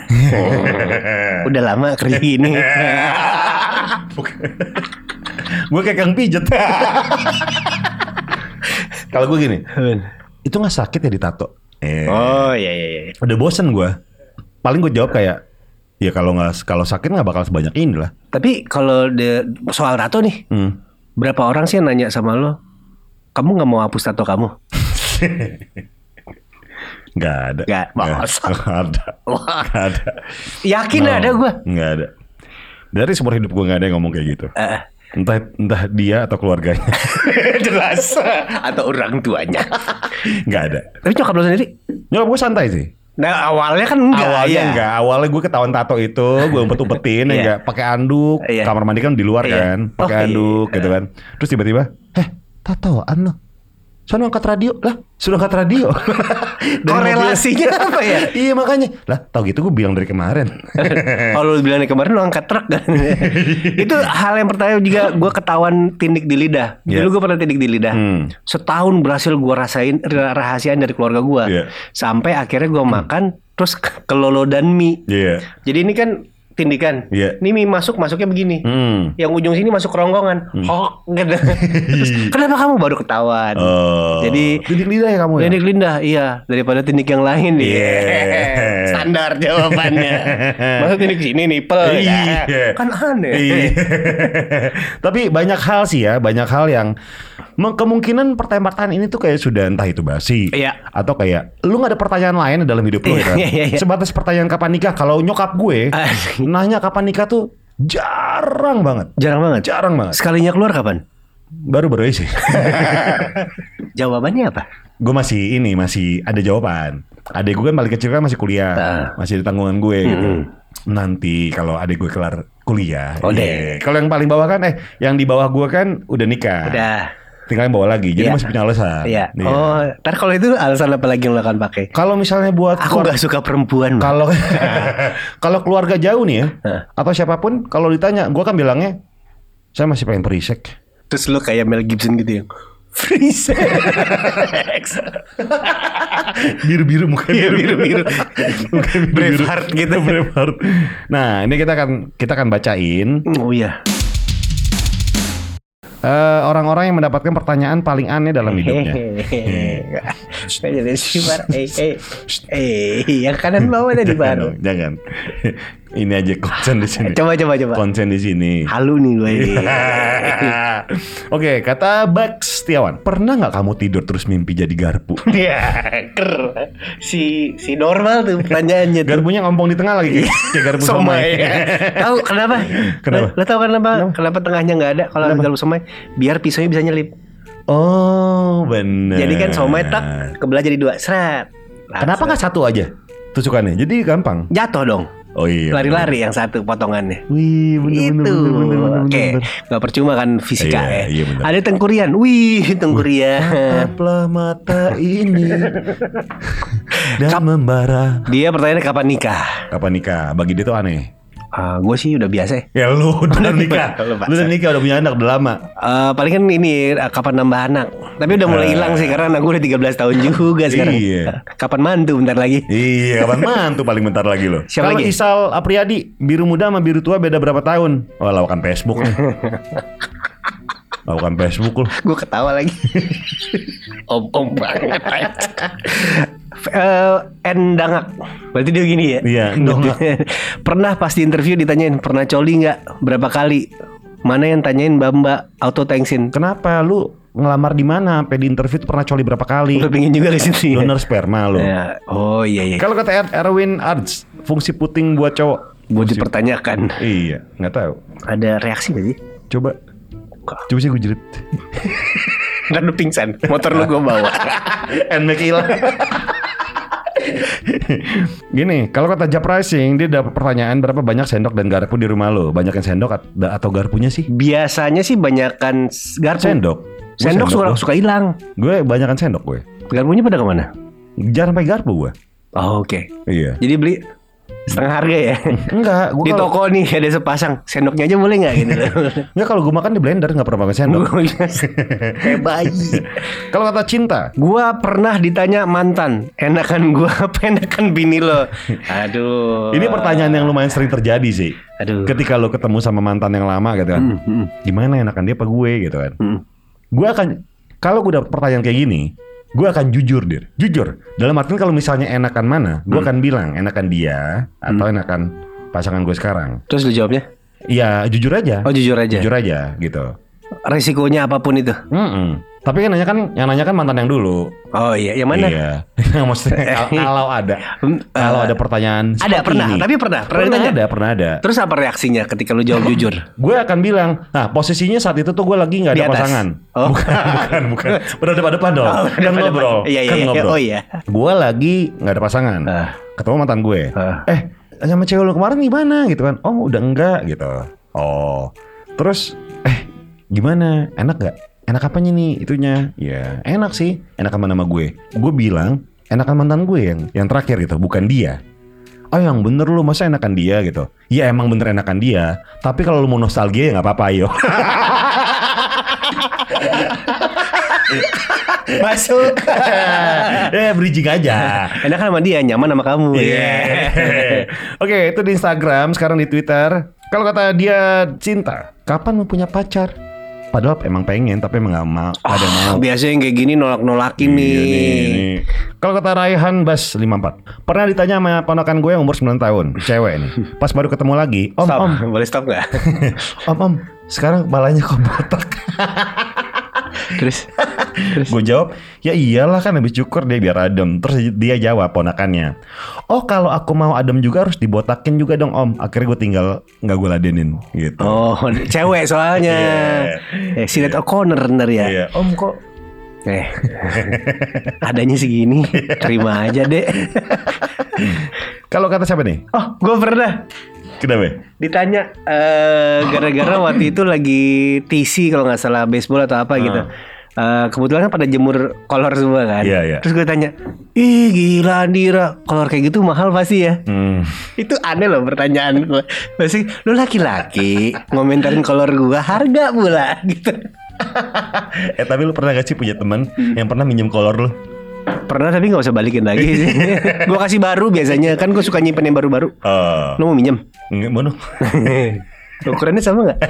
A: Udah lama kerja gini.
B: gue kayak kang pijet. Kalau gue gini, itu nggak sakit ya ditato? Eh,
A: oh, iya iya iya.
B: Udah bosen gue. Paling gue jawab kayak, ya kalau nggak kalau sakit nggak bakal sebanyak ini lah.
A: Tapi kalau de- soal tato nih,
B: Hmm.
A: berapa orang sih yang nanya sama lo, kamu nggak mau hapus tato kamu?
B: Nggak ada.
A: Nggak, masa?
B: Nggak ada.
A: Wah.
B: Nggak ada.
A: Yakin
B: No,
A: ada gue.
B: Nggak ada. Dari seumur hidup gue nggak ada yang ngomong kayak gitu.
A: Eh,
B: Entah entah dia atau keluarganya.
A: jelas atau orang tuanya.
B: Nggak ada.
A: Tapi nyokap lo sendiri?
B: Nyokap gue santai sih.
A: Nah awalnya kan enggak.
B: awalnya
A: ya.
B: enggak, awalnya gue ketahuan tato itu, gue umpet-umpetin ya
A: Iya.
B: enggak, pakai anduk,
A: Iya.
B: kamar mandi kan di luar
A: Iya.
B: kan, pakai
A: Oh,
B: anduk gitu kan. Terus tiba-tiba, "Eh, tatoan lo." Sono angkat radio lah, sudah angkat radio. Dari
A: Korelasinya
B: mobil.
A: apa ya?
B: iya makanya, lah tau gitu gue bilang dari kemarin.
A: Kalau lu bilang kemarin lu angkat truk kan. itu hal yang pertama juga gue ketahuan tindik di lidah.
B: Iya.
A: Dulu gue pernah tindik di lidah.
B: Hmm.
A: Setahun berhasil gue rasain ra- rahasiaan dari keluarga gue.
B: Iya.
A: Sampai akhirnya gue makan terus ke- kelolodan mie.
B: Iya.
A: Jadi ini kan tindikan.
B: Iya.
A: Ini mie masuk masuknya begini.
B: Hmm.
A: Yang ujung sini masuk kerongkongan. Hok gitu. Terus, kenapa kamu baru ketahuan? Oh,
B: Oh.
A: Jadi-
B: tindik lidah ya kamu ya.
A: Tindik lidah, iya daripada tindik yang lain nih.
B: Iya. Yeah.
A: Standar jawabannya. Masa tindik sini nipel ya?
B: Iya.
A: Kan aneh.
B: Iya. Tapi banyak hal sih ya, banyak hal yang meng- kemungkinan pertanyaan-pertanyaan ini tuh kayak sudah entah itu basi
A: Iya.
B: atau kayak lu nggak ada pertanyaan lain dalam hidup lu
A: Iya,
B: kan.
A: iya, iya.
B: Sebatas pertanyaan kapan nikah kalau nyokap gue
A: Asli.
B: nanya kapan nikah tuh jarang banget.
A: Jarang banget.
B: Jarang banget.
A: Sekalinya keluar kapan?
B: Baru-baru aja sih.
A: Jawabannya apa?
B: gue masih ini masih ada jawaban. Adek gue kan paling kecil kan masih kuliah,
A: Ah.
B: masih di tanggungan gue gitu. Nanti kalau adek gue kelar kuliah,
A: Oh,
B: iya. kalau yang paling bawah kan eh yang di bawah gue kan udah nikah.
A: Udah.
B: tinggal yang bawa lagi. Jadi
A: Iya.
B: masih punya alasan.
A: Iya.
B: Iya.
A: Oh, ntar kalau itu alasan apa lagi yang lo akan pakai?
B: Kalau misalnya buat
A: Aku
B: keluar-
A: nggak suka perempuan. Bang.
B: kalau kalau keluarga jauh nih ya
A: Hah.
B: atau siapapun kalau ditanya, gua kan bilangnya saya masih pengen perisek.
A: Terus lo kayak Mel Gibson gitu yang free sex.
B: Biru-biru mukanya
A: Iya, biru-biru. Braveheart gitu.
B: Braveheart. Nah, ini kita akan kita akan bacain
A: Oh iya.
B: eh, orang-orang yang mendapatkan pertanyaan paling aneh dalam hidupnya.
A: Jadi si Bar, eh eh eh yang kanan bawah tadi
B: Jangan,
A: Bar.
B: dong, jangan. ini aja konsen di sini.
A: Coba coba coba.
B: Konsen di sini.
A: Halu nih gue.
B: Oke, kata Bax Setiawan, pernah nggak kamu tidur terus mimpi jadi garpu?
A: Iya, ker. Si si normal tuh pertanyaannya tuh.
B: Garpunya ngompong di tengah
A: Iya.
B: lagi kayak, kayak garpu somai.
A: Tahu kenapa?
B: Kenapa?
A: Lo, lo tahu kenapa? Kenapa, tengahnya nggak ada kalau garpu somai? Biar pisaunya bisa nyelip.
B: oh, benar.
A: Jadi kan somai
B: Nah.
A: tak kebelah jadi dua. Seret.
B: Kenapa nggak satu aja? Tusukannya. Jadi gampang.
A: Jatuh dong.
B: Oh iya.
A: Lari-lari yang satu potongannya.
B: Wih, bener bener
A: itu
B: bener bener bener, bener,
A: Gitu. oke
B: bener.
A: nggak percuma kan fisika
B: Iya,
A: ya
B: iya bener.
A: ada tengkurian wih tengkurian
B: Tataplah mata ini dan membara.
A: dia pertanyaannya kapan nikah
B: Kapan nikah? Bagi dia tuh aneh.
A: Ah, gue sih udah biasa ya.
B: Ya lu udah nikah,
A: Lu
B: lu
A: paksa.
B: udah nikah udah punya anak udah lama.
A: Eh, paling kan ini eh, kapan nambah anak tapi udah mulai
B: Eh.
A: hilang sih karena anak gue udah 13 tahun juga sekarang
B: Iya.
A: kapan mantu bentar lagi
B: Iya, kapan mantu paling bentar lagi loh.
A: Siapa
B: Kalau
A: lagi?
B: Isal Apriyadi, biru muda sama biru tua beda berapa tahun? Wah, Oh, lawakan Facebook. lawakan Facebook loh.
A: gue ketawa lagi om om banget Eh, endangak berarti dia gini ya
B: Iya, endangak.
A: pernah pasti interview ditanyain pernah coli nggak berapa kali mana yang tanyain bamba auto thanksin
B: Kenapa lu ngelamar di mana? Sampai di interview tuh pernah coli berapa kali?
A: lu pingin juga ke situ ya?
B: Donor sperma lo.
A: Ya, oh iya iya
B: Kalau kata Er- Erwin Arts, fungsi puting buat cowok.
A: buat dipertanyakan
B: Iya, nggak tahu.
A: ada reaksi gak sih
B: Coba Coba sih gue jerit
A: Ntar lu pingsan motor lu gue bawa
B: Endmek hilang Gini, kalau kata Jap Rising Dia dapat pertanyaan berapa banyak sendok dan garpu di rumah lo Banyak yang sendok at- da- atau garpunya sih?
A: biasanya sih banyakan garpu
B: Sendok
A: Sendok, suka
B: sendok
A: suka hilang.
B: Gue banyakan sendok gue.
A: Garpunya pada kemana?
B: Jarang pakai garpu gue.
A: Oh, oke.
B: Iya.
A: Jadi beli setengah harga ya.
B: Enggak, gue
A: Di
B: kalau
A: toko nih ada sepasang sendoknya aja boleh nggak gitu?
B: Enggak kalau gue makan di blender nggak pernah pakai sendok.
A: Kayak bayi.
B: kalau kata cinta,
A: Gua pernah ditanya mantan, enakan gua apa enakan bini lo? Aduh.
B: ini pertanyaan yang lumayan sering terjadi sih.
A: Aduh.
B: Ketika lo ketemu sama mantan yang lama gitu kan. Gimana enakan dia apa gue gitu kan.
A: Hmm.
B: Gue akan kalau gue dapet pertanyaan kayak gini, gue akan jujur dir. Jujur. Dalam artian kalau misalnya enakan mana, gue akan bilang enakan dia atau
A: Hmm.
B: enakan pasangan gue sekarang.
A: Terus lu jawabnya?
B: Iya, jujur aja.
A: Oh jujur aja.
B: Jujur aja gitu.
A: Resikonya apapun itu.
B: Mm-mm. Tapi yang nanya kan yang nanya kan mantan yang dulu.
A: Oh iya, yang mana?
B: Iya. Maksudnya kal- kalau ada
A: Hmm,
B: kalau
A: eh,
B: ada pertanyaan
A: ada,
B: seperti
A: pernah,
B: ini.
A: tapi pernah, pernah
B: pernah
A: ditanya?
B: ada pernah ada.
A: Terus apa reaksinya ketika lu jawab jujur?
B: Gue akan bilang, nah posisinya saat itu tuh gue lagi nggak
A: Di
B: ada
A: atas.
B: pasangan.
A: Oh.
B: Bukan, bukan, bukan. Berdepan depan dong.
A: Oh,
B: kan
A: berdepan-depan.
B: ngobrol.
A: Iya, iya,
B: kan
A: iya.
B: ngobrol.
A: Oh, iya.
B: Gue lagi nggak ada pasangan.
A: Ah.
B: Ketemu mantan gue.
A: Ah.
B: Eh, sama cewek lu kemarin gimana gitu kan? Oh, udah enggak gitu. Oh, terus eh gimana? Enak nggak? Enak apanya nih itunya? Ya enak sih. Enak sama nama gue. Gue bilang enakan mantan gue yang yang terakhir gitu, bukan dia. Oh yang bener lu masa enakan dia gitu Ya emang bener enakan dia Tapi kalau lu mau nostalgia ya nggak apa-apa ayo
A: Masuk.
B: Eh bridging aja
A: enakan kan sama dia, nyaman sama kamu. ya.
B: Iya. Oke, itu di Instagram, sekarang di Twitter. Kalau kata dia cinta, kapan mau punya pacar? Padahal emang pengen, tapi emang nggak mau. Ada yang mau.
A: Ah, biasanya yang kayak gini nolak-nolakin nih.
B: Iya nih, nih. Kalau kata Raihan Bas 54 Pernah ditanya sama ponakan gue yang umur 9 tahun Cewek nih Pas baru ketemu lagi Om,
A: Stop.
B: om,
A: Boleh stop nggak?
B: om, om Sekarang kepalanya kok botak
A: Terus
B: Gue jawab, ya iyalah kan habis cukur dia biar adem. Terus dia jawab ponakannya, oh kalau aku mau adem juga harus dibotakin juga dong om. Akhirnya gue tinggal nggak gue ladenin gitu.
A: Oh, cewek soalnya. Eh, Sinet O'Connor ntar ya.
B: Iya, om kok
A: Eh, adanya segini, terima aja deh.
B: kalau kata siapa nih?
A: Oh, gue pernah
B: Kenapa?
A: ditanya eh, gara-gara waktu itu lagi TC kalau nggak salah baseball atau apa gitu. Eh, kebetulan kan pada jemur kolor semua kan.
B: Iya, iya.
A: Terus gue tanya, ih gila Andira, kolor kayak gitu mahal pasti ya?
B: Hmm.
A: Itu aneh loh pertanyaan gue. Pasti lu laki-laki ngomentarin kolor gua harga pula gitu.
B: Eh tapi lu pernah gak sih punya teman yang pernah minjem kolor lu?
A: Pernah tapi nggak usah balikin lagi sih. gue kasih baru biasanya kan gue suka nyimpen yang baru-baru.
B: Eh,
A: Lu mau minjem?
B: nggak mau dong.
A: Ukurannya sama nggak?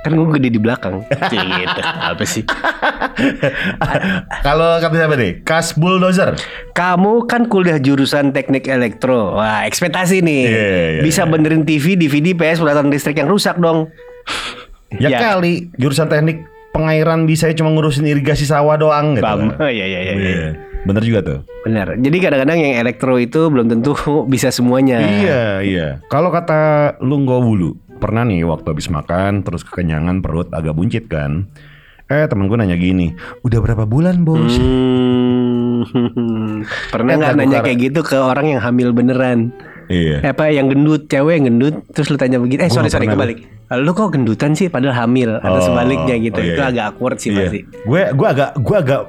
A: kan gue gede di belakang. Cih, gitu. Apa sih?
B: Kalau kata siapa nih? Kas bulldozer.
A: Kamu kan kuliah jurusan teknik elektro. Wah, ekspektasi nih.
B: Iya, iya, iya.
A: Bisa benerin TV, DVD, PS, peralatan listrik yang rusak dong.
B: Ya,
A: Ya.
B: kali jurusan teknik pengairan bisa cuma ngurusin irigasi sawah doang gitu.
A: Paham?
B: kan.
A: Iya, iya, iya. iya.
B: Iya. Bener juga tuh.
A: Benar. Jadi kadang-kadang yang elektro itu belum tentu bisa semuanya.
B: Iya, iya. Kalau kata lu nggak wulu, pernah nih waktu habis makan terus kekenyangan perut agak buncit kan. Eh temen gue nanya gini, udah berapa bulan bos?
A: Hmm. Pernah nggak
B: Eh, lagu
A: nanya
B: kar-
A: kayak gitu ke orang yang hamil beneran?
B: Iya.
A: Apa yang gendut, cewek yang gendut, terus lu tanya begitu. Eh,
B: Gua
A: sorry
B: nggak
A: sorry
B: pernah
A: kebalik. Lu kok gendutan sih padahal hamil atau
B: Oh,
A: sebaliknya gitu.
B: oh, iya,
A: Itu
B: iya.
A: agak awkward sih
B: Iya.
A: pasti.
B: Gue gue agak gue agak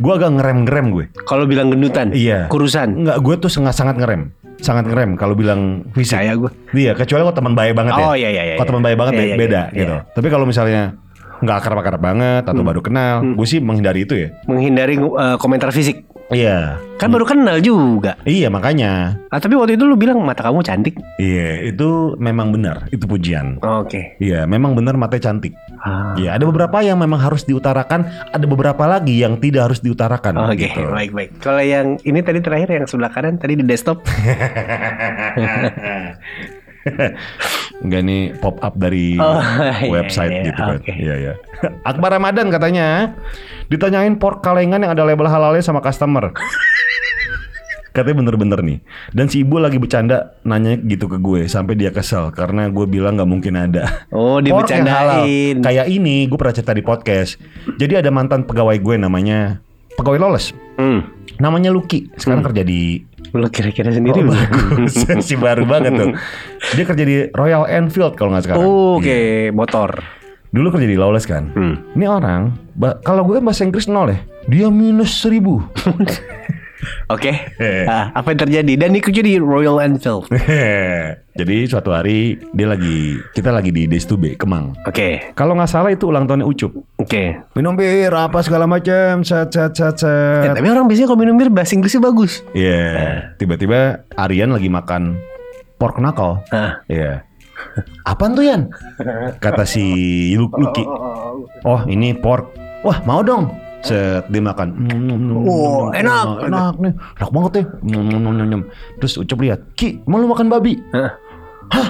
B: gue agak ngerem ngerem gue.
A: Kalau bilang gendutan,
B: Iya.
A: kurusan.
B: Nggak gue tuh sangat sangat ngerem, sangat ngerem kalau bilang fisik.
A: Saya gue.
B: Iya, kecuali kalau teman baik banget ya.
A: Oh, iya, iya, iya,
B: Kalau
A: iya.
B: teman baik banget
A: Iya,
B: be-
A: iya, iya,
B: beda
A: Hmm.
B: gitu. Tapi kalau misalnya nggak akrab-akrab banget atau baru kenal, gue sih menghindari itu ya.
A: menghindari uh, komentar fisik.
B: Iya.
A: Kan baru kenal juga.
B: Iya makanya.
A: Ah, tapi waktu itu lu bilang mata kamu cantik.
B: Iya, itu memang benar, itu pujian.
A: Oke.
B: Iya, memang benar matanya cantik.
A: Ah,
B: Iya, ada beberapa yang memang harus diutarakan, ada beberapa lagi yang tidak harus diutarakan.
A: Ah. Oke,
B: gitu.
A: baik baik. Kalau yang ini tadi terakhir yang sebelah kanan tadi di desktop.
B: Enggak nih pop up dari
A: Oh, iya,
B: website
A: iya,
B: gitu kan.
A: oke.
B: Iya, iya. Akbar Ramadan katanya ditanyain pork kalengan yang ada label halalnya sama customer. Katanya bener-bener nih Dan si ibu lagi bercanda Nanya gitu ke gue Sampai dia kesel Karena gue bilang gak mungkin ada
A: Oh,
B: Pork yang halal.
A: dibecandain.
B: Kayak ini gue pernah cerita di podcast. Jadi ada mantan pegawai gue namanya pegawai lolos.
A: Hmm.
B: Namanya Lucky. Sekarang kerja di
A: Lu kira-kira sendiri
B: Oh,
A: lu.
B: bagus. si Oh. baru banget tuh. Dia kerja di Royal Enfield kalau nggak sekarang.
A: Oke, motor.
B: Dulu kerja di Lawless kan.
A: Hmm.
B: Ini orang, ba- kalau gue bahasa Inggris nol ya, dia minus seribu.
A: Oke.
B: Eh.
A: Ah, apa yang terjadi? Dan ikut di Royal Enfield. Oke.
B: Jadi suatu hari dia lagi, kita lagi di Days to Be, Kemang. Kalau nggak salah itu ulang tahunnya Ucup.
A: Oke.
B: Minum bir, apa segala macam, set set set
A: Eh,
B: set.
A: tapi orang biasanya kalau minum bir bahasa Inggrisnya bagus.
B: Iya, tiba-tiba Aryan lagi makan pork knuckle.
A: Hah.
B: Iya. Apaan tuh Yan? Kata si Lu- Lucky. Oh ini pork. Wah mau dong. Set dimakan.
A: Oh, enak.
B: Enak nih. Enak banget deh. Terus Ucup lihat. Ki, mau lu makan babi?
A: Hah.
B: Hah?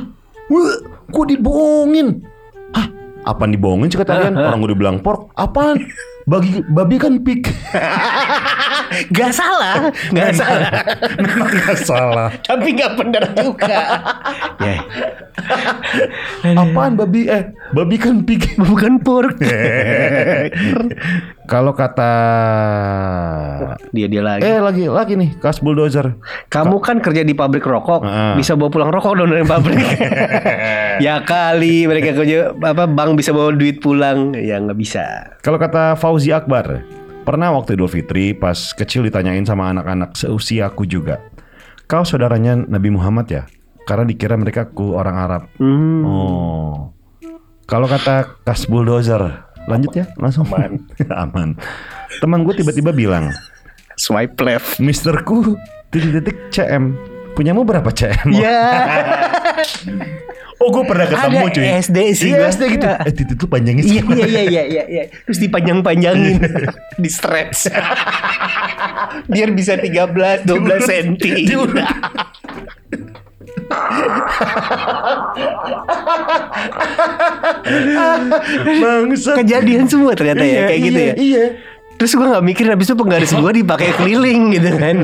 B: Wah, gua dibohongin. Hah? Apaan dibohongin sih kata Aryan? Orang udah bilang pork. Apaan? Bagi babi kan pig.
A: Gak salah, gak salah.
B: Memang nggak salah.
A: tapi gak benar juga. ya,
B: Apaan babi? Eh, babi kan pig.
A: bukan pork.
B: Kalau kata
A: dia dia lagi.
B: eh lagi lagi nih kas bulldozer.
A: Kamu kan kerja di pabrik rokok,
B: Heeh.
A: bisa bawa pulang rokok dong dari pabrik. ya kali mereka kerja apa bank bisa bawa duit pulang, ya nggak bisa.
B: Kalau kata Fauzi Akbar, pernah waktu Idul Fitri pas kecil ditanyain sama anak-anak seusiaku juga. Kau saudaranya Nabi Muhammad ya? Karena dikira mereka ku orang Arab.
A: Hmm.
B: Oh. Kalau kata kas bulldozer, lanjut ya langsung aman. aman. Teman gue tiba-tiba bilang,
A: Swipe left.
B: Misterku titik-titik CM. Punyamu berapa CM?
A: Ya,
B: Oh, gue pernah ketemu
A: Ada
B: cuy.
A: SD sih
B: Iya,
A: gua.
B: SD gitu. Eh, titik tuh panjangnya
A: iya
B: sekian.
A: iya iya iya iya, iya. Terus dipanjang-panjangin, di stretch. Biar bisa 13 12 senti.
B: Diulang. Bangsa.
A: Kejadian semua ternyata ya kayak gitu ya.
B: Iya.
A: Terus gue nggak mikir habis itu penggaris gue dipakai keliling gitu kan.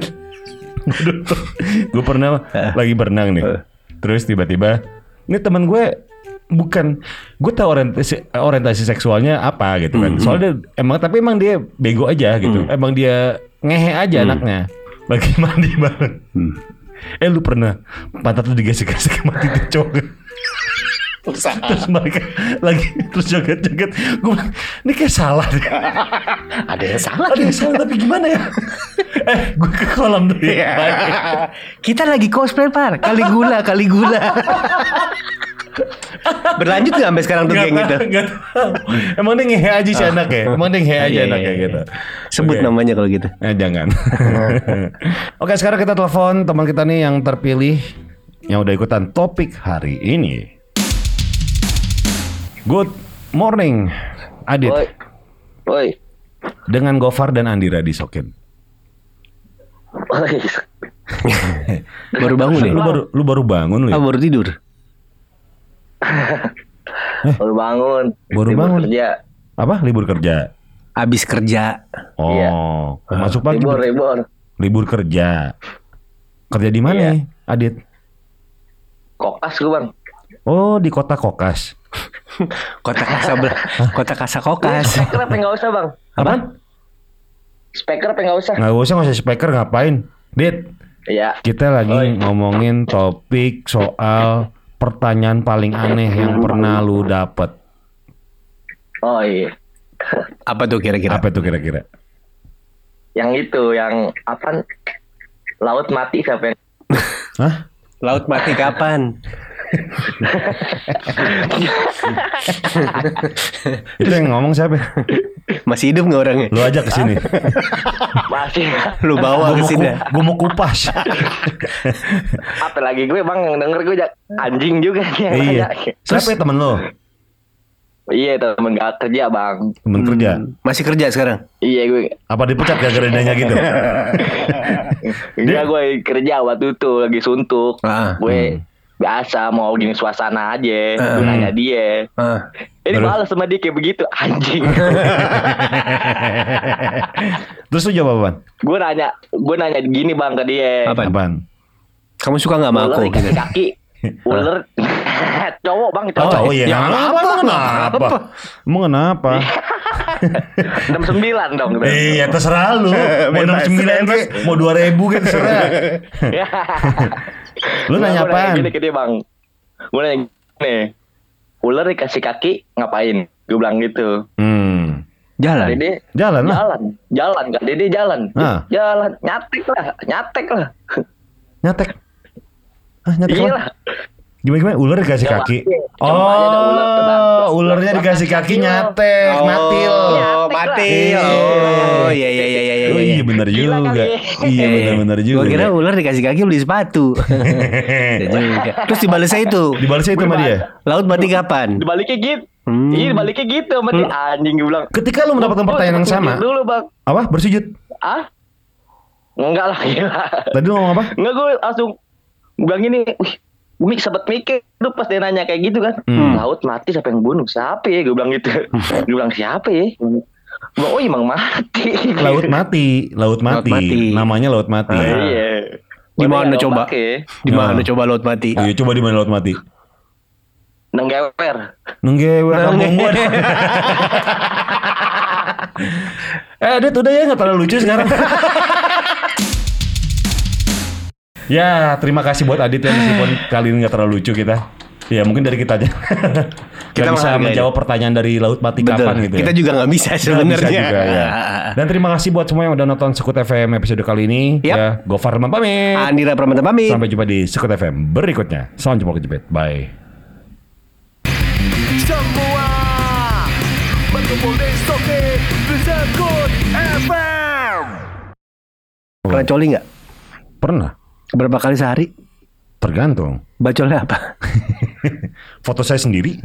B: gue pernah lagi berenang nih. Terus tiba-tiba, ini teman gue bukan gue tahu orientasi orientasi seksualnya apa gitu kan. Soalnya dia- emang tapi emang dia bego aja gitu. Emang dia ngehe aja anaknya. Lagi mandi bareng. Eh lu pernah pantat lu digesek-gesek sama titik cowok? terus mereka lagi terus joget-joget gue bilang ini kayak salah deh
A: Ada yang salah.
B: ada yang salah tapi gimana ya eh gue ke kolam dulu
A: Iya.
B: ya
A: Kita lagi cosplay par, kali gula, kali gula. Berlanjut nggak sampai sekarang tuh
B: Nggak
A: kayak gitu?
B: tahu, nggak tahu. Emang dia ngehe aja si anak ya Emang dia ngehe aja
A: Iya,
B: anak ya
A: iya,
B: gitu
A: Sebut
B: Oke.
A: namanya kalau gitu.
B: Eh jangan Oke sekarang kita telepon teman kita nih yang terpilih Yang udah ikutan topik hari ini Good morning Adit
D: Woi. Woi.
B: Dengan Gofar dan Andi Radi Sokin
D: Woi.
A: Baru bangun ya?
B: Lu baru, lu baru bangun lu ya?
A: Ah, baru tidur.
D: Baru bangun.
B: Eh? Baru
D: Libur
B: bangun.
D: Kerja.
B: Apa? Libur kerja?
A: Abis kerja.
B: Oh,
D: Iya.
B: masuk pagi.
D: Libur,
B: Libur,
D: libur.
B: kerja. Kerja di mana,
D: Iya.
B: nih, Adit?
D: Kokas gue bang.
B: Oh, di kota Kokas.
A: Kota Kasabel, kota Kasakokas.
D: Speaker apa nggak usah bang?
B: Apaan?
D: Speaker apa nggak usah?
B: Nggak usah ngasih speaker ngapain? Dit,
D: Iya.
B: kita lagi
D: Oi.
B: ngomongin topik soal pertanyaan paling aneh yang pernah lu dapet.
D: Oh iya.
A: Apa tuh kira-kira?
B: Apa itu kira-kira?
D: Yang itu, yang apa? Laut mati siapa yang?
B: Hah?
A: Laut mati kapan?
B: Itu yang ngomong siapa?
A: Masih hidup nggak orangnya?
B: Lu ajak ke sini.
D: Masih.
A: Lu bawa
B: Gua
A: Oh, ke
B: mau
A: sini. ya?
B: ku- gua mau kupas.
D: apa lagi gue bang yang denger gue jak- anjing juga nih yang
B: iya.
D: nanya.
B: Siapa ya temen lu?
D: Iya temen gak kerja bang.
B: Temen kerja.
A: Masih kerja sekarang?
D: Iya gue.
B: Apa dipecat gara-gara dianya gitu?
D: Iya gue kerja waktu itu lagi suntuk.
A: Ah,
B: hmm.
D: Gue biasa mau gini suasana aja.
A: Ah.
D: Gue nanya dia.
A: Ah.
D: Ini
B: Terus?
D: balas sama dia kayak begitu anjing.
B: Terus lu jawab apaan?
D: gue nanya, gue nanya gini bang ke dia.
A: Apa? Apaan?
B: Apaan?
A: Kamu suka nggak sama
D: Ular
A: aku?
D: dikasih kaki. Ular cowok bang
B: Oh,
D: cowok.
B: oh iya.
A: Ya,
B: kenapa?
A: kenapa?
B: Kenapa? Emang kenapa?
D: 69 dong.
B: Iya terserah lu Mau 69 kek kan, Mau 2000 kek terserah
D: Iya.
B: Iya. Lu nanya
D: Gua
B: apaan?
D: Gini ke dia bang. Gue nanya nih. Ular dikasih kaki ngapain? gue bilang gitu
B: Hmm.
A: Jalan.
D: Dede
B: Jalan lah.
D: jalan jalan kan Dede jalan
B: Ah.
D: jalan nyatek lah nyatek lah
B: Nyatek. Hah, nyatek
D: iya
B: apa?
D: lah
B: Gimana gimana? Ular dikasih
D: Coba,
B: kaki.
D: iya. Coba aja dah ular kena.
B: Oh, ularnya dikasih
D: Kaki Iya.
B: kaki
D: lo.
B: nyatek, mati lo.
A: Oh, Eh, mati. Oh, iya iya iya iya. iya,
B: Oh iya
A: iya.
B: benar
D: Gila
B: juga.
D: kali.
B: Iya benar-benar juga.
A: Gue Eh, kira ular dikasih kaki beli sepatu. Iya juga. Terus dibalasnya itu.
B: Dibalasnya itu sama dia.
A: Laut mati kapan?
D: dibaliknya gitu
A: Hmm.
D: iya dibaliknya gitu sama
B: Hmm.
D: dia. anjing gue bilang
B: Ketika lu mendapatkan
D: "Oh,
B: pertanyaan yang
D: sujud
B: sama,
D: dulu bang
B: apa? Bersujud.
D: ah enggak lah gila
B: Tadi lu ngomong apa?
D: enggak gue langsung gue bilang gini wih gue mik sempat mikir tuh pas dia nanya kayak gitu kan
B: Hmm.
D: laut mati siapa yang bunuh siapa ya gue bilang gitu gue bilang siapa ya gue bilang oh emang mati
B: Laut mati, laut mati.
A: mati.
B: Namanya laut mati.
D: iya
A: Di mana
D: Padahal
A: coba?
D: pakai.
A: Di mana coba laut mati?
B: Oh Nah. iya coba di mana laut mati?
D: nenggewer
B: Nenggewe kampung gua. deh. eh, Dit udah ya nggak terlalu lucu sekarang. ya, terima kasih buat Adit ya meskipun kali ini nggak terlalu lucu kita. Ya mungkin dari kita aja. kita
A: Kita
B: bisa
A: menghargai.
B: menjawab pertanyaan dari laut mati
A: Betul.
B: kapan gitu. ya.
A: Kita juga nggak bisa
B: Nggak bisa
A: sebenarnya.
B: juga, ya. Dan terima kasih buat semua yang udah nonton Sekut FM episode kali ini.
A: Yap.
B: Ya, Gofar Remam pamit.
A: Andira Pramana pamit.
B: Sampai jumpa di Sekut FM berikutnya. Salam jumpa kejepit. Bye.
C: Semua berkumpul di Soke Zakut FM
A: Pernah coli nggak?
B: Pernah?
A: Berapa kali sehari?
B: Tergantung.
A: Bacolnya apa?
B: Foto saya sendiri.